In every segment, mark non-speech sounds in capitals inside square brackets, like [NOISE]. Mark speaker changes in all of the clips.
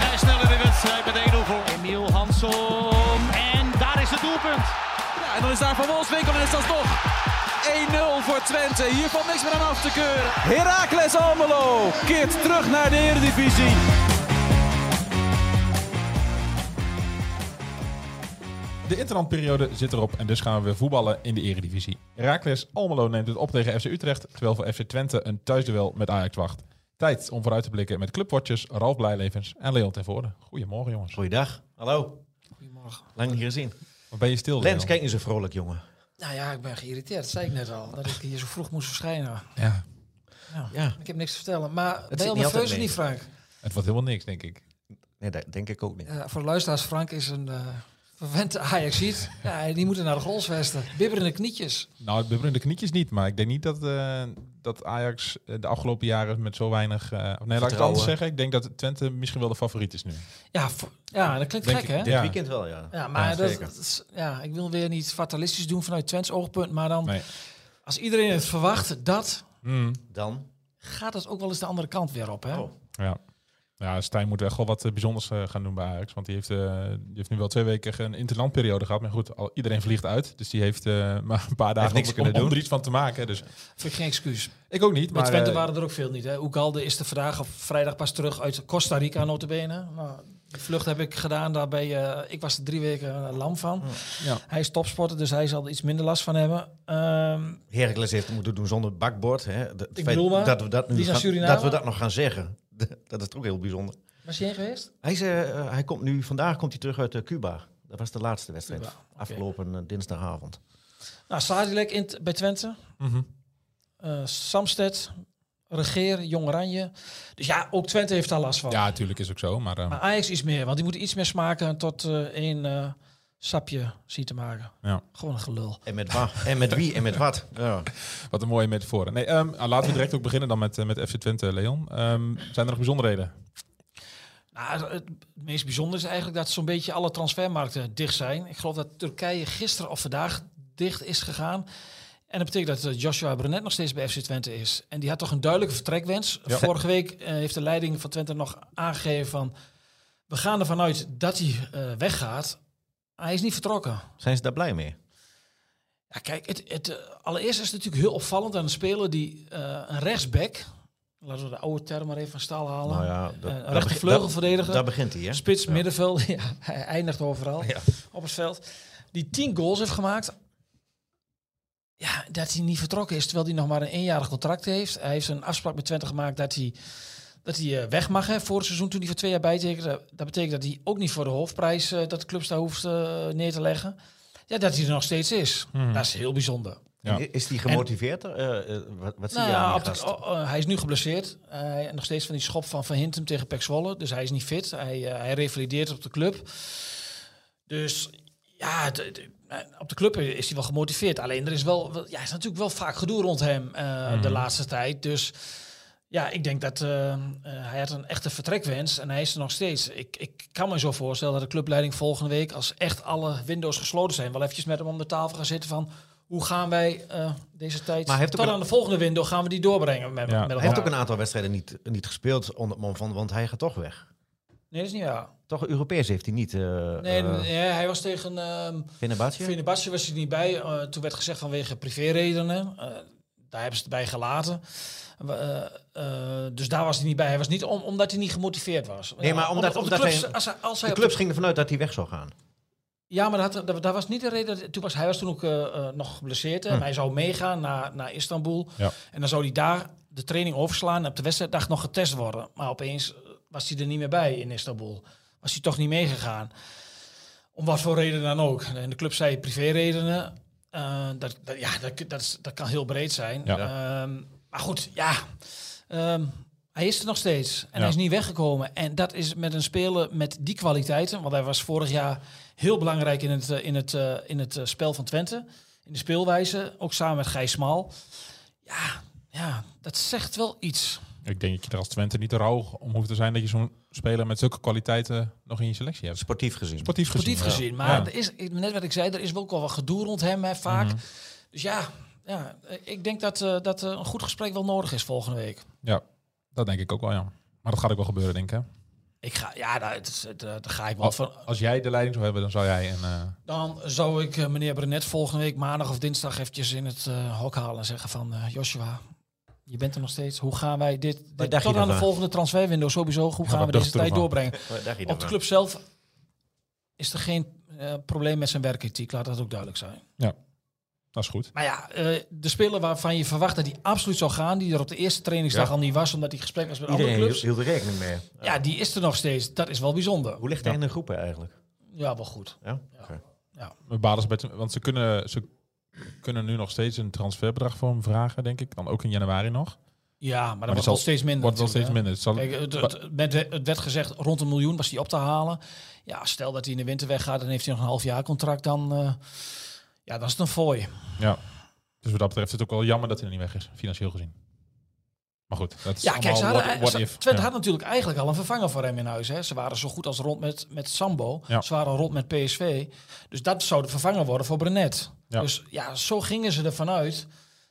Speaker 1: vrij snel in de wedstrijd met 1-0 voor. Emiel Hansom. En daar is het doelpunt.
Speaker 2: Ja, en dan is daar Van Wolfswinkel en is dat toch 1-0 voor Twente. Hier valt niks meer aan af te keuren. Heracles Almelo keert terug naar de Eredivisie.
Speaker 3: De interlandperiode zit erop en dus gaan we weer voetballen in de Eredivisie. Heracles Almelo neemt het op tegen FC Utrecht, terwijl voor FC Twente een thuisduel met Ajax wacht. Tijd om vooruit te blikken met clubwatchers Ralf Blijlevens en Leon ten Voorde. Goedemorgen jongens.
Speaker 4: Goeiedag, hallo. Goedemorgen. Lang niet gezien.
Speaker 3: Wat ben je stil?
Speaker 4: Lens,
Speaker 3: Leon?
Speaker 4: kijk eens zo vrolijk, jongen.
Speaker 5: Nou ja, ik ben geïrriteerd, dat zei ik net al, dat ik hier zo vroeg moest verschijnen.
Speaker 3: Ja,
Speaker 4: Ja,
Speaker 5: Ik heb niks te vertellen, maar
Speaker 4: zit
Speaker 5: ben je al
Speaker 4: niet altijd
Speaker 5: nerveus of
Speaker 4: mee.
Speaker 5: niet, Frank?
Speaker 3: het wordt helemaal niks denk ik.
Speaker 4: nee, dat denk ik ook niet.
Speaker 5: Eh, voor de luisteraars, Frank is een eh verwend ajax Ja, en die moeten naar de goalsvesten. Bibberende knietjes.
Speaker 3: Nou, het bibberende knietjes niet, maar ik denk niet dat, eh, dat Ajax eh, de afgelopen jaren met zo weinig... eh, nee, laat ik het
Speaker 4: Vertrouwen.
Speaker 3: anders zeggen. Ik denk dat Twente misschien wel de favoriet is nu.
Speaker 5: Ja, vo- ja dat klinkt
Speaker 3: Denk
Speaker 5: gek,
Speaker 3: ik,
Speaker 5: hè?
Speaker 3: ja.
Speaker 5: Ja,
Speaker 4: Dit weekend wel, ja.
Speaker 5: maar
Speaker 3: Ja,
Speaker 5: dat,
Speaker 3: zeker.
Speaker 5: dat is- ja, ik wil weer niet fatalistisch doen vanuit Twents oogpunt, maar dan
Speaker 3: Nee.
Speaker 5: als iedereen het verwacht, dat
Speaker 3: Hmm,
Speaker 4: Dan?
Speaker 5: gaat het ook wel eens de andere kant weer op, hè?
Speaker 4: Oh.
Speaker 3: ja. Ja, Stijn moet echt wel wat eh, bijzonders eh, gaan doen bij Ajax. Want die heeft, eh, die heeft nu wel twee weken een interlandperiode gehad. Maar goed, al, iedereen vliegt uit. Dus die heeft eh, [LAUGHS] maar een paar dagen
Speaker 4: niks
Speaker 3: om,
Speaker 4: kunnen
Speaker 3: om, om
Speaker 4: doen.
Speaker 3: er iets van te maken. Dus
Speaker 5: Vind ik geen excuus.
Speaker 3: ik ook niet. Maar
Speaker 5: Met Twente
Speaker 3: eh,
Speaker 5: waren er ook veel niet. Hè? Oekalde is de vandaag of vrijdag pas terug uit Costa Rica, notabene. Nou, die vlucht heb ik gedaan daarbij. eh, ik was er drie weken eh, lam
Speaker 3: Oh.
Speaker 5: van.
Speaker 3: ja.
Speaker 5: Hij is topsporter, dus hij zal er iets minder last van hebben. Ehm,
Speaker 4: Heracles heeft het moeten doen zonder bakbord. Hè. Dat,
Speaker 5: Ik bedoel maar,
Speaker 4: dat we dat, nu
Speaker 5: die naar
Speaker 4: gaan,
Speaker 5: Suriname?
Speaker 4: dat we dat nog gaan zeggen. [LAUGHS] dat is toch ook heel bijzonder.
Speaker 5: was je heen geweest?
Speaker 4: Hij, is, eh, eh, hij komt nu, vandaag komt hij terug uit eh, Cuba. Dat was de laatste wedstrijd.
Speaker 5: Cuba, oké.
Speaker 4: Afgelopen eh, dinsdagavond.
Speaker 5: Nou, Sadilek in t- bij Twente.
Speaker 3: mhm.
Speaker 5: eh Samsted, Regeer, Jong Oranje. Dus ja, ook Twente heeft daar last van.
Speaker 3: ja, natuurlijk is ook zo. Maar, eh,
Speaker 5: Maar Ajax iets meer, want die moeten iets meer smaken tot eh één eh, sapje zien te maken.
Speaker 3: Ja.
Speaker 5: Gewoon een gelul.
Speaker 4: En met, wa- en met wie en met
Speaker 5: [LAUGHS]
Speaker 4: wat. Ja.
Speaker 3: wat een mooie metafoor. Nee, ehm, ah, laten we direct ook beginnen dan met, eh, met FC Twente, Leon. Ehm, zijn er nog bijzonderheden?
Speaker 5: Nou, het meest bijzondere is eigenlijk dat zo'n beetje alle transfermarkten dicht zijn. Ik geloof dat Turkije gisteren of vandaag dicht is gegaan. En dat betekent dat eh, Joshua Brenet nog steeds bij FC Twente is. En die had toch een duidelijke vertrekwens.
Speaker 3: Ja.
Speaker 5: Vorige week eh, heeft de leiding van Twente nog aangegeven van... we gaan ervan uit dat hij eh, weggaat. Hij is niet vertrokken.
Speaker 4: Zijn ze daar blij mee?
Speaker 5: Ja, kijk, het, het, eh, allereerst is het natuurlijk heel opvallend aan een speler die eh, een rechtsback... laten we de oude term maar even van staal halen...
Speaker 4: Nou ja,
Speaker 5: eh, een
Speaker 4: daar
Speaker 5: rechter
Speaker 4: begint-
Speaker 5: vleugelverdediger.
Speaker 4: Daar begint hij, hè?
Speaker 5: Spits, middenveld, [LAUGHS] ja, hij eindigt overal op het veld. Die tien goals heeft gemaakt. Ja, dat hij niet vertrokken is, terwijl hij nog maar een eenjarig contract heeft. Hij heeft een afspraak met Twente gemaakt dat hij, dat hij eh, weg mag. Hè. Vorig seizoen toen hij voor twee jaar bijtekende. Dat betekent dat hij ook niet voor de hoofdprijs eh, dat de clubs daar hoeft eh, neer te leggen. Ja, dat hij er nog steeds is. Dat is heel bijzonder.
Speaker 3: Ja.
Speaker 4: En Is die gemotiveerd? Eh, eh, wat wat zie
Speaker 5: Nou
Speaker 4: je
Speaker 5: ja,
Speaker 4: aan
Speaker 5: op
Speaker 4: die
Speaker 5: de-
Speaker 4: gast?
Speaker 5: oh, oh, hij is nu geblesseerd. Eh, hij- nog steeds van die schop van Van Hintem tegen Pek Zwolle. Dus hij is niet fit. Hij, eh, hij revalideert op de club. Dus ja, de- de- eh, op de club is hij wel gemotiveerd. Alleen er is wel, wel- ja, er is natuurlijk wel vaak gedoe rond hem eh, de
Speaker 4: Mhm.
Speaker 5: laatste tijd. Dus ja, ik denk dat eh, eh, hij had een echte vertrekwens en hij is er nog steeds. Ik, ik kan me zo voorstellen dat de clubleiding volgende week, als echt alle windows gesloten zijn, wel eventjes met hem om de tafel gaan zitten van hoe gaan wij eh, deze tijd
Speaker 4: Maar hij heeft
Speaker 5: tot
Speaker 4: ook een-
Speaker 5: aan de volgende window gaan we die doorbrengen met,
Speaker 3: Ja.
Speaker 5: met
Speaker 4: Hij heeft ook
Speaker 5: elkaar.
Speaker 4: een aantal wedstrijden niet, niet gespeeld onder het mom van, want hij gaat toch weg.
Speaker 5: Nee, dat is niet waar.
Speaker 4: Toch Europees heeft hij niet. eh
Speaker 5: Nee,
Speaker 4: nee,
Speaker 5: nee, hij was tegen ehm Fenerbahce was hij niet bij. Eh, toen werd gezegd vanwege privéredenen. Eh, daar hebben ze het bij gelaten. We- eh, eh, dus daar was hij niet bij. Hij was niet om, omdat hij niet gemotiveerd was.
Speaker 4: Nee, maar
Speaker 5: Ja, op
Speaker 4: omdat-
Speaker 5: de
Speaker 4: omdat
Speaker 5: clubs-
Speaker 4: hij-
Speaker 5: als hij, als hij
Speaker 4: De
Speaker 5: op
Speaker 4: clubs gingen ervan uit dat hij weg zou gaan.
Speaker 5: Ja, maar dat, had- dat, dat was niet de reden. dat- Toen was, hij was toen ook eh, eh, nog geblesseerd. hè. En Hij zou meegaan naar, naar Istanbul.
Speaker 3: Hm. Ja.
Speaker 5: En dan zou hij daar de training overslaan en op de wedstrijddag nog getest worden. Maar opeens eh, was hij er niet meer bij in Istanbul. Was hij toch niet meegegaan. Om wat voor reden dan ook. En de club zei privéredenen. Eh, dat, dat, ja, dat, dat, is- dat kan heel breed zijn.
Speaker 3: Ja.
Speaker 5: Ehm, maar goed, ja. Ehm, hij is er nog steeds. En
Speaker 3: Ja.
Speaker 5: hij is niet weggekomen. En dat is met een speler met die kwaliteiten. Want hij was vorig jaar Heel belangrijk in het, eh, in het, eh, in het eh, spel van Twente. In de speelwijze. Ook samen met Gijs Smal. Ja, ja, dat zegt wel iets.
Speaker 3: Ik denk dat je er als Twente niet te rauw om hoeft te zijn dat je zo'n speler met zulke kwaliteiten nog in je selectie hebt.
Speaker 4: Sportief gezien.
Speaker 3: Sportief gezien.
Speaker 5: Sportief
Speaker 3: ja.
Speaker 5: gezien. Maar
Speaker 3: Ja. Mhm.
Speaker 5: er is, ik- net wat ik zei, er is ook wel wat gedoe rond hem hè, vaak. Dus ja, ja, ik denk dat, eh, dat eh, een goed gesprek wel nodig is volgende week.
Speaker 3: Ja, dat denk ik ook wel, ja. Maar dat gaat ook wel gebeuren, denk ik. Hè?
Speaker 5: Ik ga, ja, daar, het is- daar, daar ga ik wel
Speaker 3: Als,
Speaker 5: van.
Speaker 3: als jij de leiding zou hebben, dan zou jij een... eh,
Speaker 5: Dan zou ik eh, meneer Brenet volgende week maandag of dinsdag eventjes in het eh, hok halen en zeggen van eh, Joshua, je bent er nog steeds. Hoe gaan wij dit, dit
Speaker 4: dacht
Speaker 5: tot
Speaker 4: je
Speaker 5: aan de
Speaker 4: daarvan?
Speaker 5: volgende transferwindow sowieso, hoe gaan
Speaker 3: wat
Speaker 5: we
Speaker 3: dacht
Speaker 5: deze
Speaker 3: je
Speaker 5: tijd
Speaker 3: ervan?
Speaker 5: doorbrengen?
Speaker 4: Wat dacht je
Speaker 5: Op de
Speaker 4: daarvan?
Speaker 5: club zelf is er geen eh, probleem met zijn werkethiek, laat dat ook duidelijk zijn.
Speaker 3: dat is goed.
Speaker 5: Maar ja, eh, de speler waarvan je verwacht dat die absoluut zou gaan, die er op de eerste trainingsdag
Speaker 3: Ja.
Speaker 5: al niet was, omdat hij gesprek was met
Speaker 4: Iedereen
Speaker 5: andere
Speaker 4: hield,
Speaker 5: clubs.
Speaker 4: hield er rekening mee.
Speaker 5: Ja, die is er nog steeds. Dat is wel bijzonder.
Speaker 4: Hoe ligt hij in de groepen eigenlijk?
Speaker 5: Ja, wel goed.
Speaker 4: Ja? Oké.
Speaker 3: Met Baders bij Twente- want ze kunnen, ze kunnen nu nog steeds een transferbedrag voor hem vragen, denk ik. Dan ook in januari nog.
Speaker 5: Ja, maar Ah, dat
Speaker 3: die
Speaker 5: wordt
Speaker 3: zal-
Speaker 5: wel steeds minder.
Speaker 3: Wordt wel steeds
Speaker 5: natuurlijk,
Speaker 3: minder. Het zal-
Speaker 5: hè. Kijk, het, het- het werd- het werd gezegd rond een miljoen was hij op te halen. Ja, stel dat hij in de winter weggaat en heeft hij nog een half jaar contract, dan, eh, ja, dan is het een fooi.
Speaker 3: Ja. Dus wat dat betreft is het ook wel jammer dat hij er niet weg is, financieel gezien. Maar goed, dat is
Speaker 5: Ja, kijk, ze
Speaker 3: allemaal
Speaker 5: hadden,
Speaker 3: what, what
Speaker 5: ze-
Speaker 3: if.
Speaker 5: Twente
Speaker 3: Ja.
Speaker 5: had natuurlijk eigenlijk al een vervanger voor hem in huis. Hè. Ze waren zo goed als rond met, met Sambo.
Speaker 3: Ja.
Speaker 5: Ze waren rond met PSV. Dus dat zou de vervanger worden voor Brenet.
Speaker 3: Ja.
Speaker 5: Dus ja, zo gingen ze ervan uit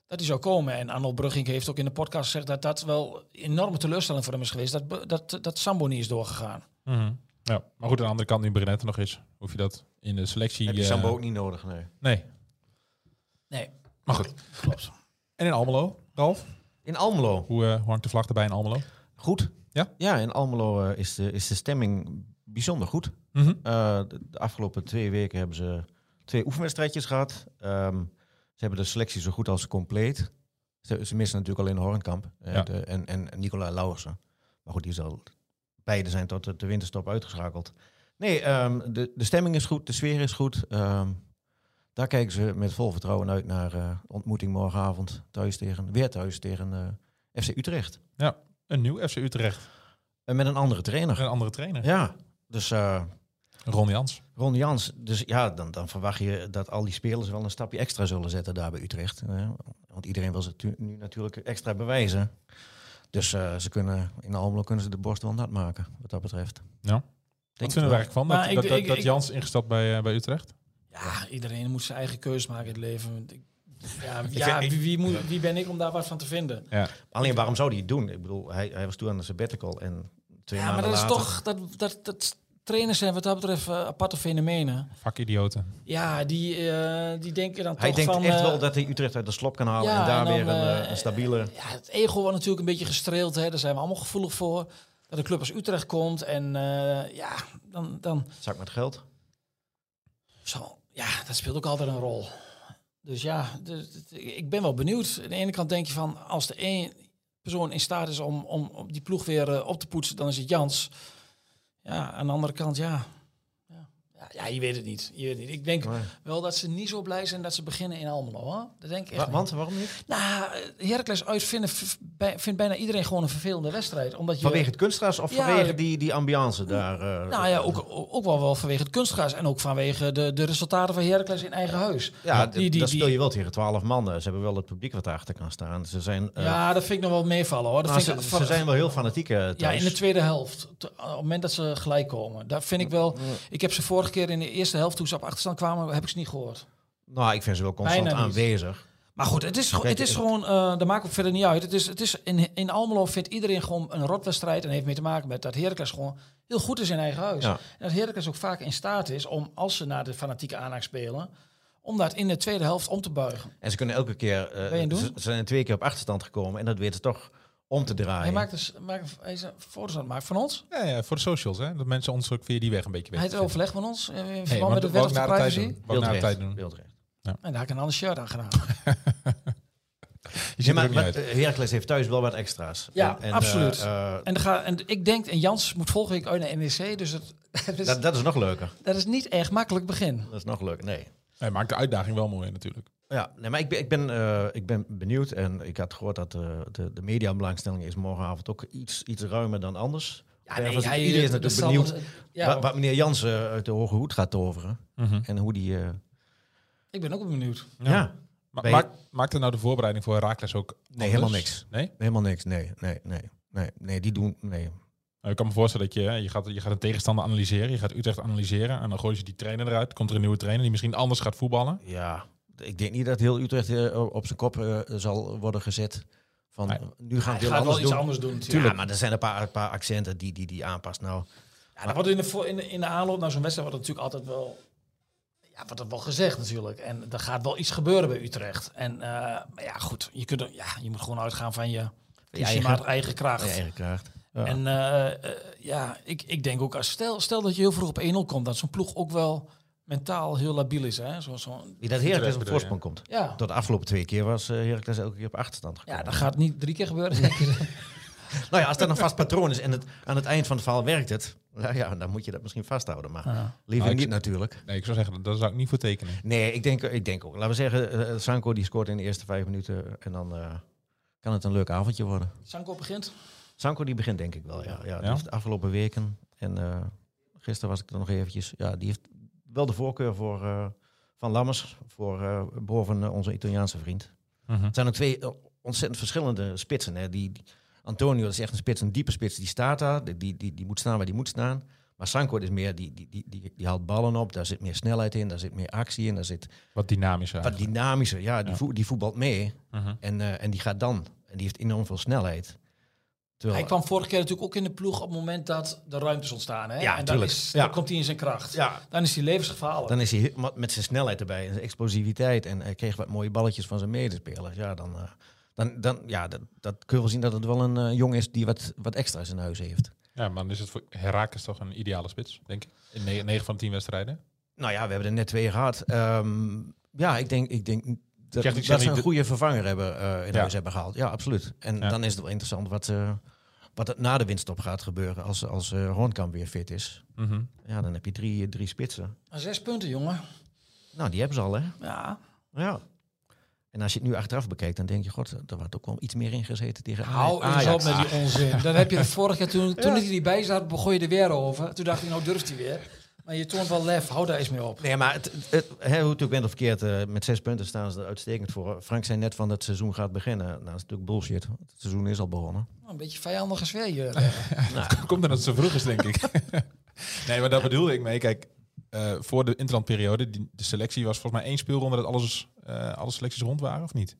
Speaker 5: dat hij zou komen. En Arnold Brugging heeft ook in de podcast gezegd... dat dat wel een enorme teleurstelling voor hem is geweest... dat, Br- dat, dat Sambo niet is doorgegaan.
Speaker 3: Mhm. ja. Maar goed, aan de andere kant, nu Brenet er nog is, hoef je dat in de selectie...
Speaker 4: Heb je
Speaker 3: eh,
Speaker 4: Sambo ook niet nodig? Nee.
Speaker 3: Nee.
Speaker 5: Nee,
Speaker 3: Maar goed.
Speaker 5: klopt.
Speaker 3: En in Almelo, Ralf?
Speaker 4: In Almelo.
Speaker 3: Hoe eh, hangt de vlag erbij in Almelo?
Speaker 4: Goed.
Speaker 3: Ja?
Speaker 4: Ja, in Almelo eh, is, de, is de stemming bijzonder goed.
Speaker 3: Mhm.
Speaker 4: Eh, de, de afgelopen twee weken hebben ze twee oefenwedstrijdjes gehad. Ehm, ze hebben de selectie zo goed als compleet. Ze, ze missen natuurlijk alleen Hornkamp eh,
Speaker 3: Ja.
Speaker 4: de- en, en Nicola Lauwersen. Maar goed, die zal beide zijn tot de, de winterstop uitgeschakeld. Nee, ehm, de, de stemming is goed, de sfeer is goed. Ehm, daar kijken ze met vol vertrouwen uit naar eh, ontmoeting morgenavond thuis tegen, weer thuis tegen eh, FC Utrecht.
Speaker 3: Een nieuw FC Utrecht.
Speaker 4: En met een andere trainer.
Speaker 3: Een andere trainer.
Speaker 4: Ja, dus eh,
Speaker 3: Ron Jans.
Speaker 4: Ron Jans. Dus ja, dan, dan verwacht je dat al die spelers wel een stapje extra zullen zetten daar bij Utrecht. hè. Want iedereen wil ze tu- nu natuurlijk extra bewijzen. Dus eh, ze kunnen, in Almelo kunnen ze de borst wel nat maken, wat dat betreft.
Speaker 3: Ja. Wat
Speaker 4: Denk
Speaker 3: vinden we
Speaker 4: het
Speaker 3: eigenlijk van?
Speaker 5: Maar
Speaker 3: Dat,
Speaker 5: ik-
Speaker 3: dat, dat,
Speaker 5: ik-
Speaker 3: dat
Speaker 5: ik-
Speaker 3: Jans ingestapt bij, eh, bij Utrecht?
Speaker 5: Ja, iedereen moet zijn eigen keuze maken in het leven. Want ik- Ja,
Speaker 4: zeg,
Speaker 5: ja
Speaker 4: [LAUGHS] ik-
Speaker 5: wie, wie, moet, wie ben ik om daar wat van te vinden?
Speaker 3: Ja.
Speaker 4: wel. Alleen waarom zou hij het doen? Ik bedoel, hij, hij was toen aan de sabbatical en twee
Speaker 5: Ja, maar
Speaker 4: maanden
Speaker 5: dat is
Speaker 4: later...
Speaker 5: toch... Dat, dat, dat, trainers zijn wat dat betreft eh, aparte fenomenen.
Speaker 3: Vakidioten.
Speaker 5: Ja, die, eh, die denken dan
Speaker 4: Hij
Speaker 5: toch
Speaker 4: denkt
Speaker 5: van...
Speaker 4: echt
Speaker 5: eh,
Speaker 4: wel dat hij Utrecht uit de slop kan halen
Speaker 5: ja,
Speaker 4: en daar
Speaker 5: en dan,
Speaker 4: weer een, eh,
Speaker 5: eh,
Speaker 4: een stabiele...
Speaker 5: ja, het ego wordt natuurlijk een beetje gestreeld. Hè. Daar zijn we allemaal gevoelig voor. Dat een club als Utrecht komt en eh, ja, dan, dan
Speaker 4: zak met geld.
Speaker 5: zo, ja, dat speelt ook altijd een rol. Dus ja, dus, ik ben wel benieuwd. Aan de ene kant denk je van, als de één persoon in staat is om, om, om die ploeg weer eh, op te poetsen, dan is het Jans. Ja, aan de andere kant, ja. Ja, ja, ja, je weet het niet. Je weet het niet. Ik denk
Speaker 4: Maar-
Speaker 5: wel dat ze niet zo blij zijn dat ze beginnen in Almelo. Hoor. Dat denk ik echt
Speaker 4: Wa-
Speaker 5: niet.
Speaker 4: want, waarom niet?
Speaker 5: Nou, Heracles uit vinden, v- bij- vindt bijna iedereen gewoon een vervelende wedstrijd. Omdat je,
Speaker 4: Vanwege het kunstgras of
Speaker 5: Ja,
Speaker 4: vanwege
Speaker 5: dat-
Speaker 4: die, die ambiance daar? eh,
Speaker 5: Nou ja, ook, ook wel, wel vanwege het kunstgras. En ook vanwege de, de resultaten van Heracles in eigen huis.
Speaker 4: Ja,
Speaker 5: die, die,
Speaker 4: dat
Speaker 5: die-
Speaker 4: speel je wel tegen twaalf mannen. Ze hebben wel het publiek wat achter kan staan. Ze zijn, eh,
Speaker 5: ja, dat vind ik nog wel meevallen hoor. Dat
Speaker 4: maar
Speaker 5: vind
Speaker 4: ze,
Speaker 5: ik,
Speaker 4: ze
Speaker 5: van-
Speaker 4: zijn wel heel fanatiek eh, thuis.
Speaker 5: ja, in de tweede helft. Te- op het moment dat ze gelijk komen. Daar vind ik wel... Ik heb ze vorige keer in de eerste helft, toen ze op achterstand kwamen, heb ik ze niet gehoord.
Speaker 4: Nou, ik vind ze wel constant
Speaker 5: Bijna niet.
Speaker 4: aanwezig.
Speaker 5: Maar goed, het is,
Speaker 4: Kijk,
Speaker 5: het is
Speaker 4: het-
Speaker 5: gewoon, eh dat maakt ook verder niet uit. Het is, het is in, in Almelo vindt iedereen gewoon een rotwedstrijd. En heeft mee te maken met dat Heracles gewoon heel goed is in eigen huis.
Speaker 4: Ja.
Speaker 5: En dat Heracles ook vaak in staat is om, als ze naar de fanatieke aanhaak spelen, om dat in de tweede helft om te buigen.
Speaker 4: En ze kunnen elke keer... eh,
Speaker 5: Ben je doen?
Speaker 4: ze, ze zijn twee keer op achterstand gekomen. En dat weten ze toch om te draaien.
Speaker 5: Hij, maakt dus, maakt, hij is een foto's aan het maken van ons.
Speaker 3: Ja, ja, voor de socials, hè. Dat mensen ons ook via die weg een beetje
Speaker 5: Hij
Speaker 3: weten.
Speaker 5: heeft
Speaker 3: te vinden.
Speaker 5: overleg met ons eh, in
Speaker 3: Nee,
Speaker 5: verband met de
Speaker 3: want
Speaker 5: wet op
Speaker 3: wou ik
Speaker 5: de
Speaker 3: na de tijd
Speaker 5: privacy.
Speaker 3: doen.
Speaker 5: En
Speaker 3: Wou ik na de tijd doen.
Speaker 4: Wildrecht.
Speaker 5: daar heb ik een ander shirt aan gedaan.
Speaker 3: Je ziet
Speaker 4: Ja,
Speaker 3: er ook
Speaker 4: maar,
Speaker 3: niet
Speaker 4: maar
Speaker 3: uit.
Speaker 4: eh, Heracles heeft thuis wel wat extra's.
Speaker 5: Ja,
Speaker 4: eh,
Speaker 5: absoluut.
Speaker 4: eh,
Speaker 5: en, dan ga, en ik denk, en Jans moet volgende week uit naar NEC. Dus het, dat, [LAUGHS] is,
Speaker 4: dat, dat is nog leuker.
Speaker 5: dat is niet echt makkelijk begin.
Speaker 4: Dat is nog leuker, nee.
Speaker 3: Hij maakt de uitdaging wel mooi, natuurlijk.
Speaker 4: Ja, nee, maar ik ben, ik, ben, eh, ik ben benieuwd. En ik had gehoord dat eh, de, de mediabelangstelling is morgenavond ook iets, iets ruimer dan anders. nee,
Speaker 5: hij-
Speaker 4: iedereen is
Speaker 5: dat
Speaker 4: natuurlijk
Speaker 5: zal-
Speaker 4: benieuwd
Speaker 5: ja,
Speaker 4: wa- wat meneer Jansen eh, uit de Hoge Hoed gaat toveren.
Speaker 3: Mhm.
Speaker 4: En hoe die... eh,
Speaker 5: ik ben ook benieuwd.
Speaker 4: ja.
Speaker 3: Ma-
Speaker 4: Ben je-
Speaker 3: maakt- maakt er nou de voorbereiding voor Herakles ook
Speaker 4: Nee,
Speaker 3: anders?
Speaker 4: helemaal niks.
Speaker 3: Nee?
Speaker 4: Helemaal niks. Nee, nee, nee. Nee, nee die doen... Nee.
Speaker 3: Nou, ik kan me voorstellen dat je, hè, je, gaat, je gaat een tegenstander analyseren. Je gaat Utrecht analyseren. En dan gooi je die trainer eruit. Komt er een nieuwe trainer die misschien anders gaat voetballen.
Speaker 4: Ja. Ik denk niet dat heel Utrecht eh, op zijn kop eh, zal worden gezet. Van,
Speaker 3: Nee.
Speaker 4: nu gaan
Speaker 5: Hij
Speaker 4: we heel
Speaker 5: gaat wel
Speaker 4: anders
Speaker 5: iets
Speaker 4: doen.
Speaker 5: anders doen natuurlijk.
Speaker 4: Tuurlijk. Ja, maar er zijn een paar, een paar accenten die, die, die aanpast. Nou,
Speaker 5: Ja, dat wordt in de, voor- in, de- in de aanloop naar zo'n wedstrijd wordt natuurlijk altijd wel, ja, wordt dat wel gezegd natuurlijk. En er gaat wel iets gebeuren bij Utrecht. En eh, maar ja, goed, je, kunt, er- ja, je moet gewoon uitgaan van je, je
Speaker 4: eigen-
Speaker 5: eigen, eigen kracht.
Speaker 4: eigenlijk krijgt. Ja.
Speaker 5: En eh, eh, ja, ik, ik denk ook, als, stel, stel dat je heel vroeg op 1-0 komt, dat zo'n ploeg ook wel mentaal heel labiel is. Hè? Zo, zo'n-
Speaker 4: Wie dat Heracles op
Speaker 3: bedoel je?
Speaker 4: voorsprong komt.
Speaker 5: ja.
Speaker 4: Tot de afgelopen twee keer was eh, Heracles elke keer op achterstand gekomen.
Speaker 5: ja, dat gaat niet drie keer gebeuren. denk ik.
Speaker 4: Nou ja, als dat een vast patroon is en het, aan het eind van het verhaal werkt het, nou ja, dan moet je dat misschien vasthouden. Maar
Speaker 5: Ja.
Speaker 4: liever
Speaker 3: Nou, ik-
Speaker 4: niet natuurlijk.
Speaker 3: Nee, ik zou zeggen, daar zou ik niet voor tekenen.
Speaker 4: Nee, ik denk, ik denk ook. Laten we zeggen, eh, Sanko die scoort in de eerste vijf minuten en dan eh, kan het een leuk avondje worden.
Speaker 5: [LAUGHS] Sanko begint.
Speaker 4: Sanko die begint denk ik wel, ja. ja, die
Speaker 3: Ja?
Speaker 4: heeft de afgelopen weken en eh, gisteren was ik er nog eventjes, ja, die heeft wel de voorkeur voor eh, Van Lammers, voor, eh, boven eh, onze Italiaanse vriend. Het zijn ook twee eh, ontzettend verschillende spitsen. Hè. Die, die- Antonio is echt een spits, een diepe spits. Die staat daar, die, die, die, die moet staan waar die moet staan. Maar Sanko is meer, die, die, die, die, die haalt ballen op. Daar zit meer snelheid in, daar zit meer actie in. Daar zit
Speaker 3: Wat dynamischer.
Speaker 4: wat dynamischer. Ja, die,
Speaker 3: Ja.
Speaker 4: voe- die voetbalt mee.
Speaker 3: Mhm.
Speaker 4: En, eh, en die gaat dan. En die heeft enorm veel snelheid. Terwijl,
Speaker 5: Hij kwam vorige keer natuurlijk ook in de ploeg op het moment dat de ruimtes ontstaan. Hè?
Speaker 4: Ja,
Speaker 5: en dan,
Speaker 4: tuurlijk.
Speaker 5: is,
Speaker 4: Ja.
Speaker 5: dan komt hij in zijn kracht.
Speaker 4: Ja,
Speaker 5: Dan is hij levensgevaarlijk.
Speaker 4: dan is hij he- ma- met zijn snelheid erbij en zijn explosiviteit. En hij kreeg wat mooie balletjes van zijn medespelers. Ja, dan, eh, dan, dan ja, dat, dat kun je wel zien dat het wel een eh, jong is die wat, wat extra's in huis heeft.
Speaker 3: Ja, maar dan is het voor Herakles toch een ideale spits, denk ik. In 9 van de 10 wedstrijden.
Speaker 4: Nou ja, we hebben er net twee gehad. Ehm, ja, ik denk, ik denk dat,
Speaker 3: Zeg, ik zeg
Speaker 4: dat ze
Speaker 3: niet
Speaker 4: een
Speaker 3: dat-
Speaker 4: goede vervanger hebben, eh, in
Speaker 3: Ja.
Speaker 4: huis hebben gehaald. Ja, absoluut. En
Speaker 3: Ja.
Speaker 4: dan is het wel interessant wat, eh, wat er na de winststop gaat gebeuren als, als eh, Hoornkamp weer fit is. Ja, dan heb je drie, drie spitsen.
Speaker 5: Maar Zes punten, jongen.
Speaker 4: Nou, die hebben ze al, hè?
Speaker 5: Ja.
Speaker 4: Ja. En als je het nu achteraf bekijkt, dan denk je, god, er wordt ook wel iets meer ingezeten tegen
Speaker 5: Hou
Speaker 4: Aj-
Speaker 5: eens
Speaker 4: Ah, Ajax.
Speaker 5: op met die onzin. Dan heb je de vorige keer,
Speaker 4: [LAUGHS]
Speaker 5: toen, toen hij erbij zat, begon je er weer over. Toen dacht ik, nou durft hij weer. Maar je toont wel lef, hou daar eens mee op.
Speaker 4: Nee, maar het, het, hè, hoe het ook bent of verkeerd, eh, met zes punten staan ze er uitstekend voor. Frank zei net van dat het seizoen gaat beginnen. Nou, dat is natuurlijk bullshit. Het seizoen is al begonnen.
Speaker 5: Nou, een beetje vijandige sfeer hier.
Speaker 3: [LAUGHS] Komt omdat het zo vroeg is, denk ik. [LAUGHS] nee, maar daar bedoelde ik mee. Kijk, eh, voor de interlandperiode, die, de selectie was volgens mij één speelronde dat alles, eh, alle selecties rond waren, of niet?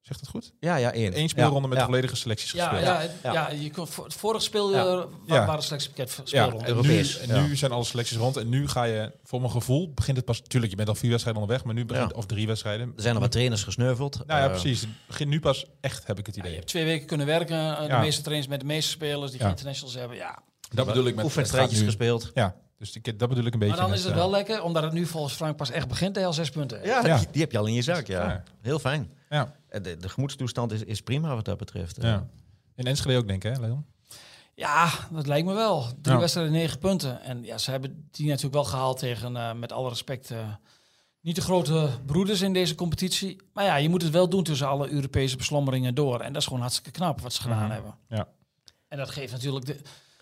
Speaker 3: Zegt dat goed?
Speaker 4: Ja, ja, één.
Speaker 3: Eén speelronde
Speaker 4: Ja,
Speaker 3: met
Speaker 4: ja.
Speaker 3: volledige selecties
Speaker 5: Ja,
Speaker 3: gespeeld.
Speaker 5: ja, ja,
Speaker 4: Ja.
Speaker 5: je kon, voor- het vorige speel
Speaker 4: Ja.
Speaker 5: ja.
Speaker 3: Ja.
Speaker 5: waren slechts pakket
Speaker 3: Ja,
Speaker 5: speelronden.
Speaker 3: en nu,
Speaker 4: Europees,
Speaker 3: en nu zijn alle selecties rond. En nu ga je, voor mijn gevoel, begint het pas... Tuurlijk, je bent al vier wedstrijden onderweg, maar nu begint...
Speaker 4: Ja.
Speaker 3: Of drie wedstrijden.
Speaker 4: Er zijn al wat trainers gesneuveld.
Speaker 3: Nou ja,
Speaker 4: Eh,
Speaker 3: precies. Het begint nu pas echt, heb ik het
Speaker 5: Ja, je
Speaker 3: idee.
Speaker 5: hebt twee weken kunnen werken, eh, de
Speaker 3: Ja.
Speaker 5: meeste trainers met de meeste spelers die
Speaker 3: Ja.
Speaker 5: geen internationals hebben. Ja.
Speaker 3: dat bedoel ik met...
Speaker 4: Oefenstrijdjes
Speaker 3: het gaat nu-
Speaker 4: gespeeld.
Speaker 3: Ja, dus ik, dat bedoel ik een beetje.
Speaker 5: Maar dan
Speaker 3: met,
Speaker 5: is het
Speaker 3: eh,
Speaker 5: wel lekker, omdat het nu volgens Frank pas echt begint, hij al zes punten. heeft.
Speaker 4: Ja,
Speaker 3: Ja.
Speaker 4: Die, die heb je al in je zak, ja.
Speaker 3: Ja.
Speaker 4: Heel fijn.
Speaker 3: Ja,
Speaker 4: Eh, De, de gemoedstoestand is, is prima wat dat betreft. Eh,
Speaker 3: ja. In Enschede ook, denk ik, hè, Leon?
Speaker 5: Ja, dat lijkt me wel. Drie
Speaker 3: Ja.
Speaker 5: wedstrijden, negen punten. En ja, ze hebben die natuurlijk wel gehaald tegen, eh, met alle respect, eh, niet de grote broeders in deze competitie. Maar ja, je moet het wel doen tussen alle Europese beslommeringen door. En dat is gewoon hartstikke knap wat ze gedaan
Speaker 3: Mhm.
Speaker 5: hebben.
Speaker 3: Ja.
Speaker 5: En dat geeft natuurlijk de...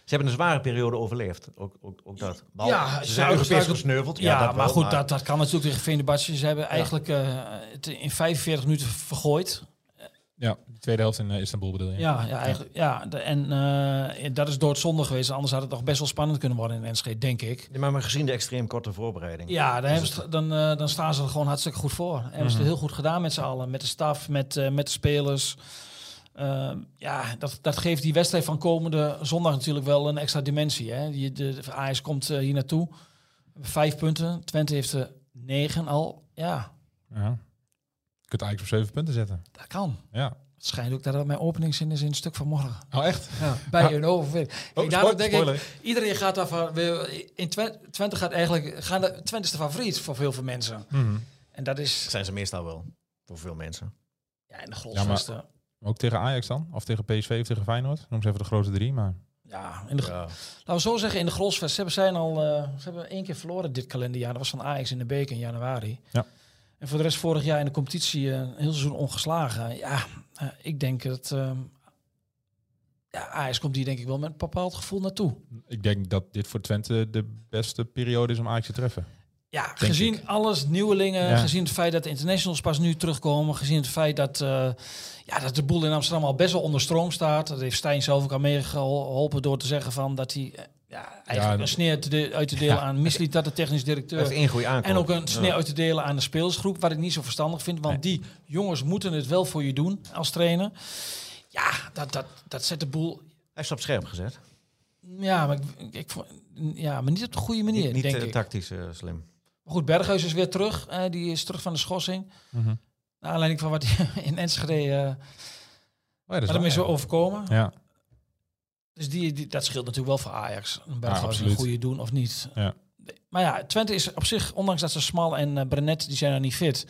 Speaker 4: Ze hebben een zware periode overleefd. Ook, ook, ook dat. Bal-
Speaker 5: Ja,
Speaker 4: ze
Speaker 5: ze
Speaker 4: zijn
Speaker 5: hebben
Speaker 4: Europees
Speaker 5: gebruikt-
Speaker 4: gesneuveld.
Speaker 5: Ja,
Speaker 4: Ja, dat
Speaker 5: maar
Speaker 4: wel,
Speaker 5: goed, Dat, dat kan natuurlijk tegen Venerbahce. Ze hebben eigenlijk eh, het in 45 minuten vergooid.
Speaker 3: Ja, de tweede helft in eh, Istanbul bedoel je?
Speaker 5: Ja, ja, eigenlijk, ja. De- en eh, dat is doodzonde geweest. Anders had het nog best wel spannend kunnen worden in Enschede, denk ik.
Speaker 4: Ja, Maar, maar gezien de extreem korte voorbereiding.
Speaker 5: Ja, dan, hebben ze het- Mhm. dan, eh, dan staan ze er gewoon hartstikke goed voor. Hebben ze het heel goed gedaan met z'n allen. Met de staf, met, eh, met de spelers. Ehm, ja, dat, dat geeft die wedstrijd van komende zondag natuurlijk wel een extra dimensie. Hè? Die, de, de AS komt eh, hier naartoe. Vijf punten. Twente heeft er negen al. Ja,
Speaker 3: Ja. Je kunt eigenlijk op zeven punten zetten.
Speaker 5: dat kan.
Speaker 3: Ja.
Speaker 5: Het schijnt ook dat dat mijn openingszin is in het stuk van morgen.
Speaker 3: Oh, echt?
Speaker 5: [LAUGHS] Ja, bij een overwinning.
Speaker 3: Oh,
Speaker 5: Kijk, daarom
Speaker 3: spoil-
Speaker 5: denk
Speaker 3: spoiler.
Speaker 5: ik, iedereen gaat daarvan. we- In Twen- Twente gaat eigenlijk. Gaan de, Twente is de favoriet voor veel veel mensen.
Speaker 3: Mhm.
Speaker 5: En dat is.
Speaker 4: Zijn ze meestal wel. Voor veel mensen.
Speaker 5: Ja, in de grootste. Ja,
Speaker 3: Maar Ook tegen Ajax dan? Of tegen PSV of tegen Feyenoord? Noem ze even de grote drie, maar...
Speaker 5: in de, gro-
Speaker 4: Ja.
Speaker 5: laten we zo zeggen, in de Grolsvest. Ze hebben, zijn al, eh, ze hebben één keer verloren dit kalenderjaar. Dat was van Ajax in de beker in januari.
Speaker 3: Ja.
Speaker 5: En voor de rest vorig jaar in de competitie eh, een heel seizoen ongeslagen. Ja, eh, ik denk dat... ehm, ja, Ajax komt hier denk ik wel met een bepaald gevoel naartoe.
Speaker 3: Ik denk dat dit voor Twente de beste periode is om Ajax te treffen.
Speaker 5: Ja, gezien alles, nieuwelingen,
Speaker 3: Ja.
Speaker 5: gezien het feit dat de internationals pas nu terugkomen, gezien het feit dat, eh, ja, dat de boel in Amsterdam al best wel onder stroom staat. Dat heeft Stijn zelf ook aan meegeholpen door te zeggen van dat hij eh, ja, eigenlijk
Speaker 3: Ja,
Speaker 5: een sneer te de- uit te delen aan Misliet, dat de technisch
Speaker 4: Dat is
Speaker 5: directeur.
Speaker 4: één goede aankoop.
Speaker 5: En ook een sneer uit te delen aan de speelsgroep, wat ik niet zo verstandig vind. Want die jongens moeten het wel voor je doen als trainer. Ja, dat, dat, dat zet de boel...
Speaker 4: Hij is op scherp gezet.
Speaker 5: Ja, maar, ik, ik, vond- ja, maar niet op de goede manier,
Speaker 4: Niet, niet
Speaker 5: denk
Speaker 4: eh,
Speaker 5: ik.
Speaker 4: tactisch eh, slim.
Speaker 5: Maar goed, Berghuis is weer terug. Eh, die is terug van de schorsing.
Speaker 3: Mhm.
Speaker 5: Naar aanleiding van wat hij [LAUGHS] in Enschede eh
Speaker 3: Oh ja, dat
Speaker 5: wat hem
Speaker 3: waar,
Speaker 5: is
Speaker 3: ja.
Speaker 5: overkomen.
Speaker 3: Ja,
Speaker 5: Dus die, die, dat scheelt natuurlijk wel voor Ajax. Een Berghuis een
Speaker 3: absoluut.
Speaker 5: goede doen of niet.
Speaker 3: Ja.
Speaker 5: Maar ja, Twente is op zich, ondanks dat ze Smal en eh, Brenet, die zijn nog niet fit,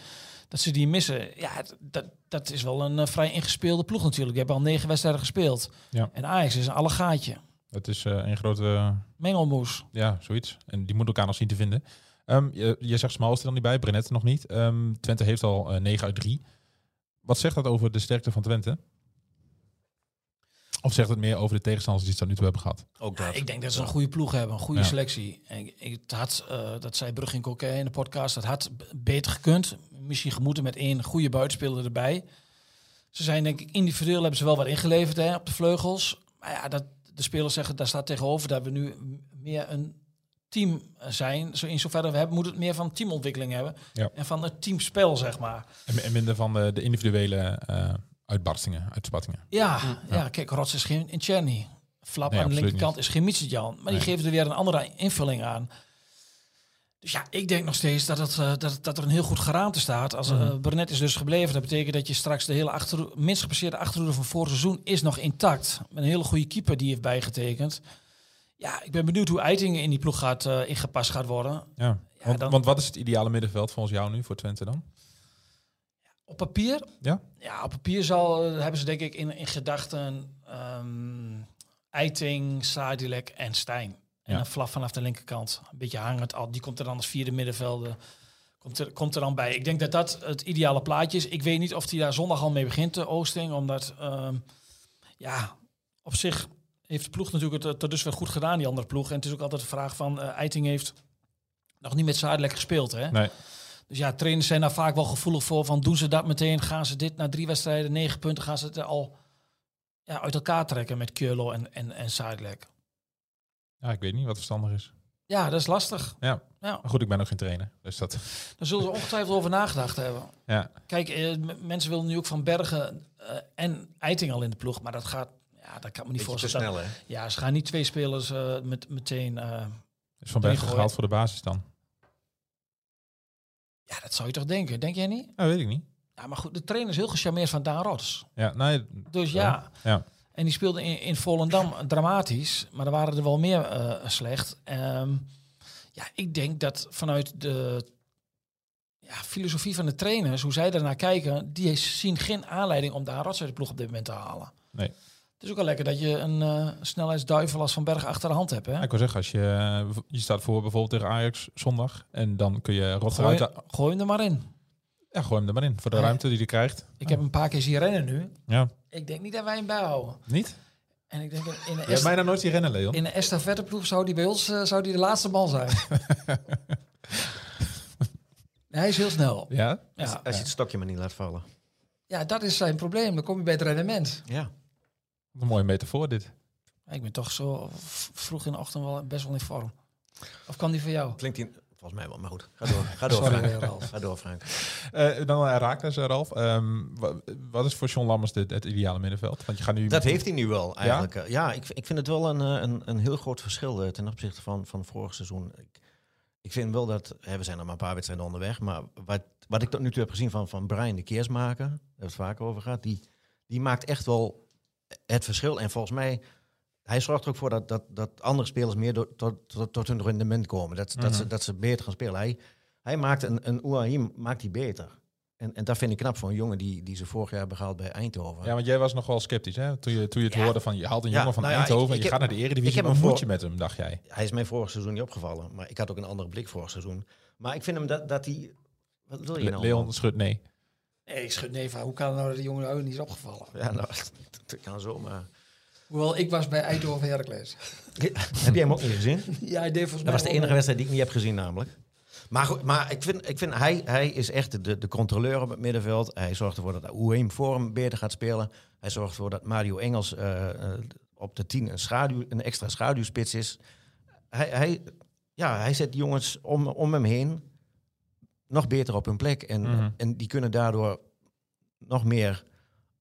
Speaker 5: dat ze die missen. Ja, d- dat, dat is wel een eh, vrij ingespeelde ploeg natuurlijk. Die hebben al negen wedstrijden gespeeld.
Speaker 3: Ja.
Speaker 5: En Ajax is een allegaatje.
Speaker 3: het is eh, een grote...
Speaker 5: Mengelmoes.
Speaker 3: Ja, zoiets. En die moeten elkaar nog zien te vinden. Ehm, je, je zegt Smal is er dan niet bij, Brenet nog niet. Ehm, Twente heeft al eh, 9 uit 3. Wat zegt dat over de sterkte van Twente? Of zegt het meer over de tegenstanders die ze tot nu toe hebben gehad?
Speaker 4: Ook
Speaker 5: Ja,
Speaker 4: dat.
Speaker 5: ik denk dat ze een goede ploeg hebben, een goede
Speaker 3: Ja.
Speaker 5: selectie. En ik, ik- het had, eh, dat zei Brugink ook eh, in de podcast, dat had b- beter gekund. Misschien gemoeten met één goede buitenspeler erbij. Ze zijn denk ik individueel hebben ze wel wat ingeleverd hè, op de vleugels. Maar ja, dat, de spelers zeggen, daar staat tegenover dat we nu m- meer een team zijn. Zo in zoverre we hebben, moet het meer van teamontwikkeling hebben.
Speaker 3: Ja.
Speaker 5: En van het teamspel, zeg maar.
Speaker 3: En, en minder van de, de individuele eh, uitbarstingen, uitspattingen.
Speaker 5: Ja, ja. kijk, Rots is geen in Tjerni. Flap
Speaker 3: Nee,
Speaker 5: aan de
Speaker 3: absoluut
Speaker 5: linkerkant is geen Mitsitjan. Maar die
Speaker 3: Nee.
Speaker 5: geven er weer een andere invulling aan. Dus ja, ik denk nog steeds dat, het, eh, dat, het- dat er een heel goed geraamte staat.
Speaker 3: Mhm.
Speaker 5: Als eh Burnett is dus gebleven, dat betekent dat je straks de hele achter, minst gepasseerde achterhoede van vorig seizoen is nog intact. Met een hele goede keeper die heeft bijgetekend. Ja, ik ben benieuwd hoe Eitingen in die ploeg gaat, eh, ingepast gaat worden.
Speaker 3: Ja.
Speaker 5: Ja,
Speaker 3: Want,
Speaker 5: dan-
Speaker 3: want wat is het ideale middenveld volgens jou nu voor Twente dan?
Speaker 5: Op papier?
Speaker 3: Ja.
Speaker 5: Ja, op papier zal, eh, hebben ze denk ik in, in gedachten ehm Eiting, Sadilek en Stijn. En
Speaker 3: Ja.
Speaker 5: een flap vanaf de linkerkant. Een beetje hangend. Al, die komt er dan als vierde middenvelder. Komt er, komt er dan bij. Ik denk dat dat het ideale plaatje is. Ik weet niet of hij daar zondag al mee begint, de Oosting. Omdat, ehm, ja, op zich heeft de ploeg natuurlijk het eh, tot dusver goed gedaan, die andere ploeg. En het is ook altijd de vraag van, eh, Eiting heeft nog niet met Sadilek gespeeld, hè?
Speaker 3: Nee.
Speaker 5: Dus ja, trainers zijn daar vaak wel gevoelig voor. Van doen ze dat meteen? Gaan ze dit na drie wedstrijden, negen punten, gaan ze het al ja, uit elkaar trekken met Curlo en, en, en Sidelec?
Speaker 3: Ja, ik weet niet wat verstandig is.
Speaker 5: Ja, dat is lastig.
Speaker 3: Ja.
Speaker 5: ja.
Speaker 3: Maar goed, ik ben nog geen trainer. Dus dat...
Speaker 5: Daar zullen ze ongetwijfeld over nagedacht hebben.
Speaker 3: Ja.
Speaker 5: Kijk, eh, m- mensen willen nu ook van Bergen eh, en Eiting al in de ploeg. Maar dat gaat, ja, dat kan ik me niet
Speaker 4: Beetje te
Speaker 5: voorstellen.
Speaker 4: snel, hè?
Speaker 5: Ja, ze gaan niet twee spelers eh, met, meteen. eh,
Speaker 3: Is Van
Speaker 5: Drie
Speaker 3: Bergen
Speaker 5: gooien.
Speaker 3: gehaald voor de basis dan?
Speaker 5: ja, dat zou je toch denken? Denk jij niet?
Speaker 3: Ja, weet ik niet.
Speaker 5: Ja, maar goed, de trainer is heel gecharmeerd van Daan Rods.
Speaker 3: Ja, nee,
Speaker 5: Dus
Speaker 3: Ja.
Speaker 5: ja.
Speaker 3: Ja.
Speaker 5: En die speelde in, in Volendam dramatisch, maar er waren er wel meer eh, slecht. Ehm, ja, ik denk dat vanuit de ja, filosofie van de trainers, hoe zij daarnaar kijken, die zien geen aanleiding om daar Rots uit de ploeg op dit moment te halen.
Speaker 3: Nee.
Speaker 5: Het is ook wel lekker dat je een eh, snelheidsduivel als Van Berg achter de hand hebt. Hè?
Speaker 3: Ja, ik wil zeggen, als je, eh, je staat voor bijvoorbeeld tegen Ajax zondag. En dan kun je rot
Speaker 5: Gooi,
Speaker 3: eruit.
Speaker 5: gooi hem er maar in.
Speaker 3: Ja, gooi hem er maar in. Voor de
Speaker 5: Ja.
Speaker 3: ruimte die hij krijgt.
Speaker 5: Ik heb een paar keer zien rennen nu.
Speaker 3: Ja.
Speaker 5: Ik denk niet dat wij hem bijhouden.
Speaker 3: Niet?
Speaker 5: En ik denk in de,
Speaker 3: Je hebt
Speaker 5: est
Speaker 3: mij dan nooit zien rennen, Leon.
Speaker 5: in de estafetteploeg zou die bij ons eh, zou die de laatste man zijn. Hij is heel snel.
Speaker 3: Ja?
Speaker 5: Ja.
Speaker 4: Als je het stokje maar niet laat vallen.
Speaker 5: ja, dat is zijn probleem. Dan kom je bij het rendement.
Speaker 4: Ja.
Speaker 3: Wat een mooie metafoor dit.
Speaker 5: Ik ben toch zo v- vroeg in de ochtend wel best wel in vorm. Of kan die voor jou?
Speaker 4: Klinkt die... Volgens mij wel, maar goed. Ga door,
Speaker 5: [LAUGHS]
Speaker 4: ga door,
Speaker 5: Sorry,
Speaker 4: Frank.
Speaker 5: weer, Ralf.
Speaker 4: Ga door, Frank.
Speaker 3: Eh, dan Herakles, eh, Ralf. Ehm, wa- wat is voor John Lammers dit, het ideale middenveld? Want je gaat nu...
Speaker 4: Dat heeft hij nu wel, eigenlijk. Ja, ja ik, ik vind het wel een, eh, een, een heel groot verschil eh, ten opzichte van, van vorig seizoen. Ik, ik vind wel dat... Hè, we zijn nog maar een paar wedstrijden onderweg. Maar wat, wat ik tot nu toe heb gezien van, van Brian de Keersmaker... Daar hebben we het vaker over gehad. Die, die maakt echt wel eh, het verschil. En volgens mij... Hij zorgt er ook voor dat, dat, dat andere spelers meer door- tot, tot, tot hun rendement komen. Dat, dat,
Speaker 3: Mhm.
Speaker 4: ze, dat ze beter gaan spelen. Hij, hij maakt een, een Ouahim maakt die beter. En, en dat vind ik knap voor een jongen die, die ze vorig jaar hebben gehaald bij Eindhoven.
Speaker 3: Ja, want jij was nog wel sceptisch, hè? Toen je, toen je het hoorde van, je haalt een
Speaker 4: Ja,
Speaker 3: jongen van
Speaker 4: nou ja,
Speaker 3: Eindhoven...
Speaker 4: ik-
Speaker 3: en
Speaker 4: ik
Speaker 3: je
Speaker 4: heb-
Speaker 3: gaat naar de
Speaker 4: ik
Speaker 3: Eredivisie,
Speaker 4: heb
Speaker 3: wat
Speaker 4: hem voor-
Speaker 3: moet je met hem, dacht jij?
Speaker 4: Hij is mij vorig seizoen niet opgevallen, maar ik had ook een andere blik vorig seizoen. Maar ik vind hem dat, dat hij... Wat wil je
Speaker 3: Le-
Speaker 4: nou?
Speaker 3: Leon
Speaker 4: man?
Speaker 3: schudt nee.
Speaker 4: [LAUGHS]
Speaker 5: Nee, ik schud nee van. Hoe kan het nou dat die jongen nou niet is opgevallen?
Speaker 4: Ja, nou, dat kan zomaar.
Speaker 6: Hoewel, ik was bij Eindhoven Heracles.
Speaker 4: Heb jij hem ook niet gezien?
Speaker 6: ja, hij deed volgens mij
Speaker 4: Dat
Speaker 6: wel
Speaker 4: was de enige
Speaker 6: mee.
Speaker 4: wedstrijd die ik niet heb gezien namelijk. Maar, goed, maar ik vind, ik vind hij, hij is echt de, de controleur op het middenveld. Hij zorgt ervoor dat Oeheem voor hem beter gaat spelen. Hij zorgt ervoor dat Mario Engels eh, eh, op de 10 een, schaduw, een extra schaduwspits is. Hij, hij, ja, hij zet die jongens om, om hem heen nog beter op hun plek. En,
Speaker 3: Mhm.
Speaker 4: en die kunnen daardoor nog meer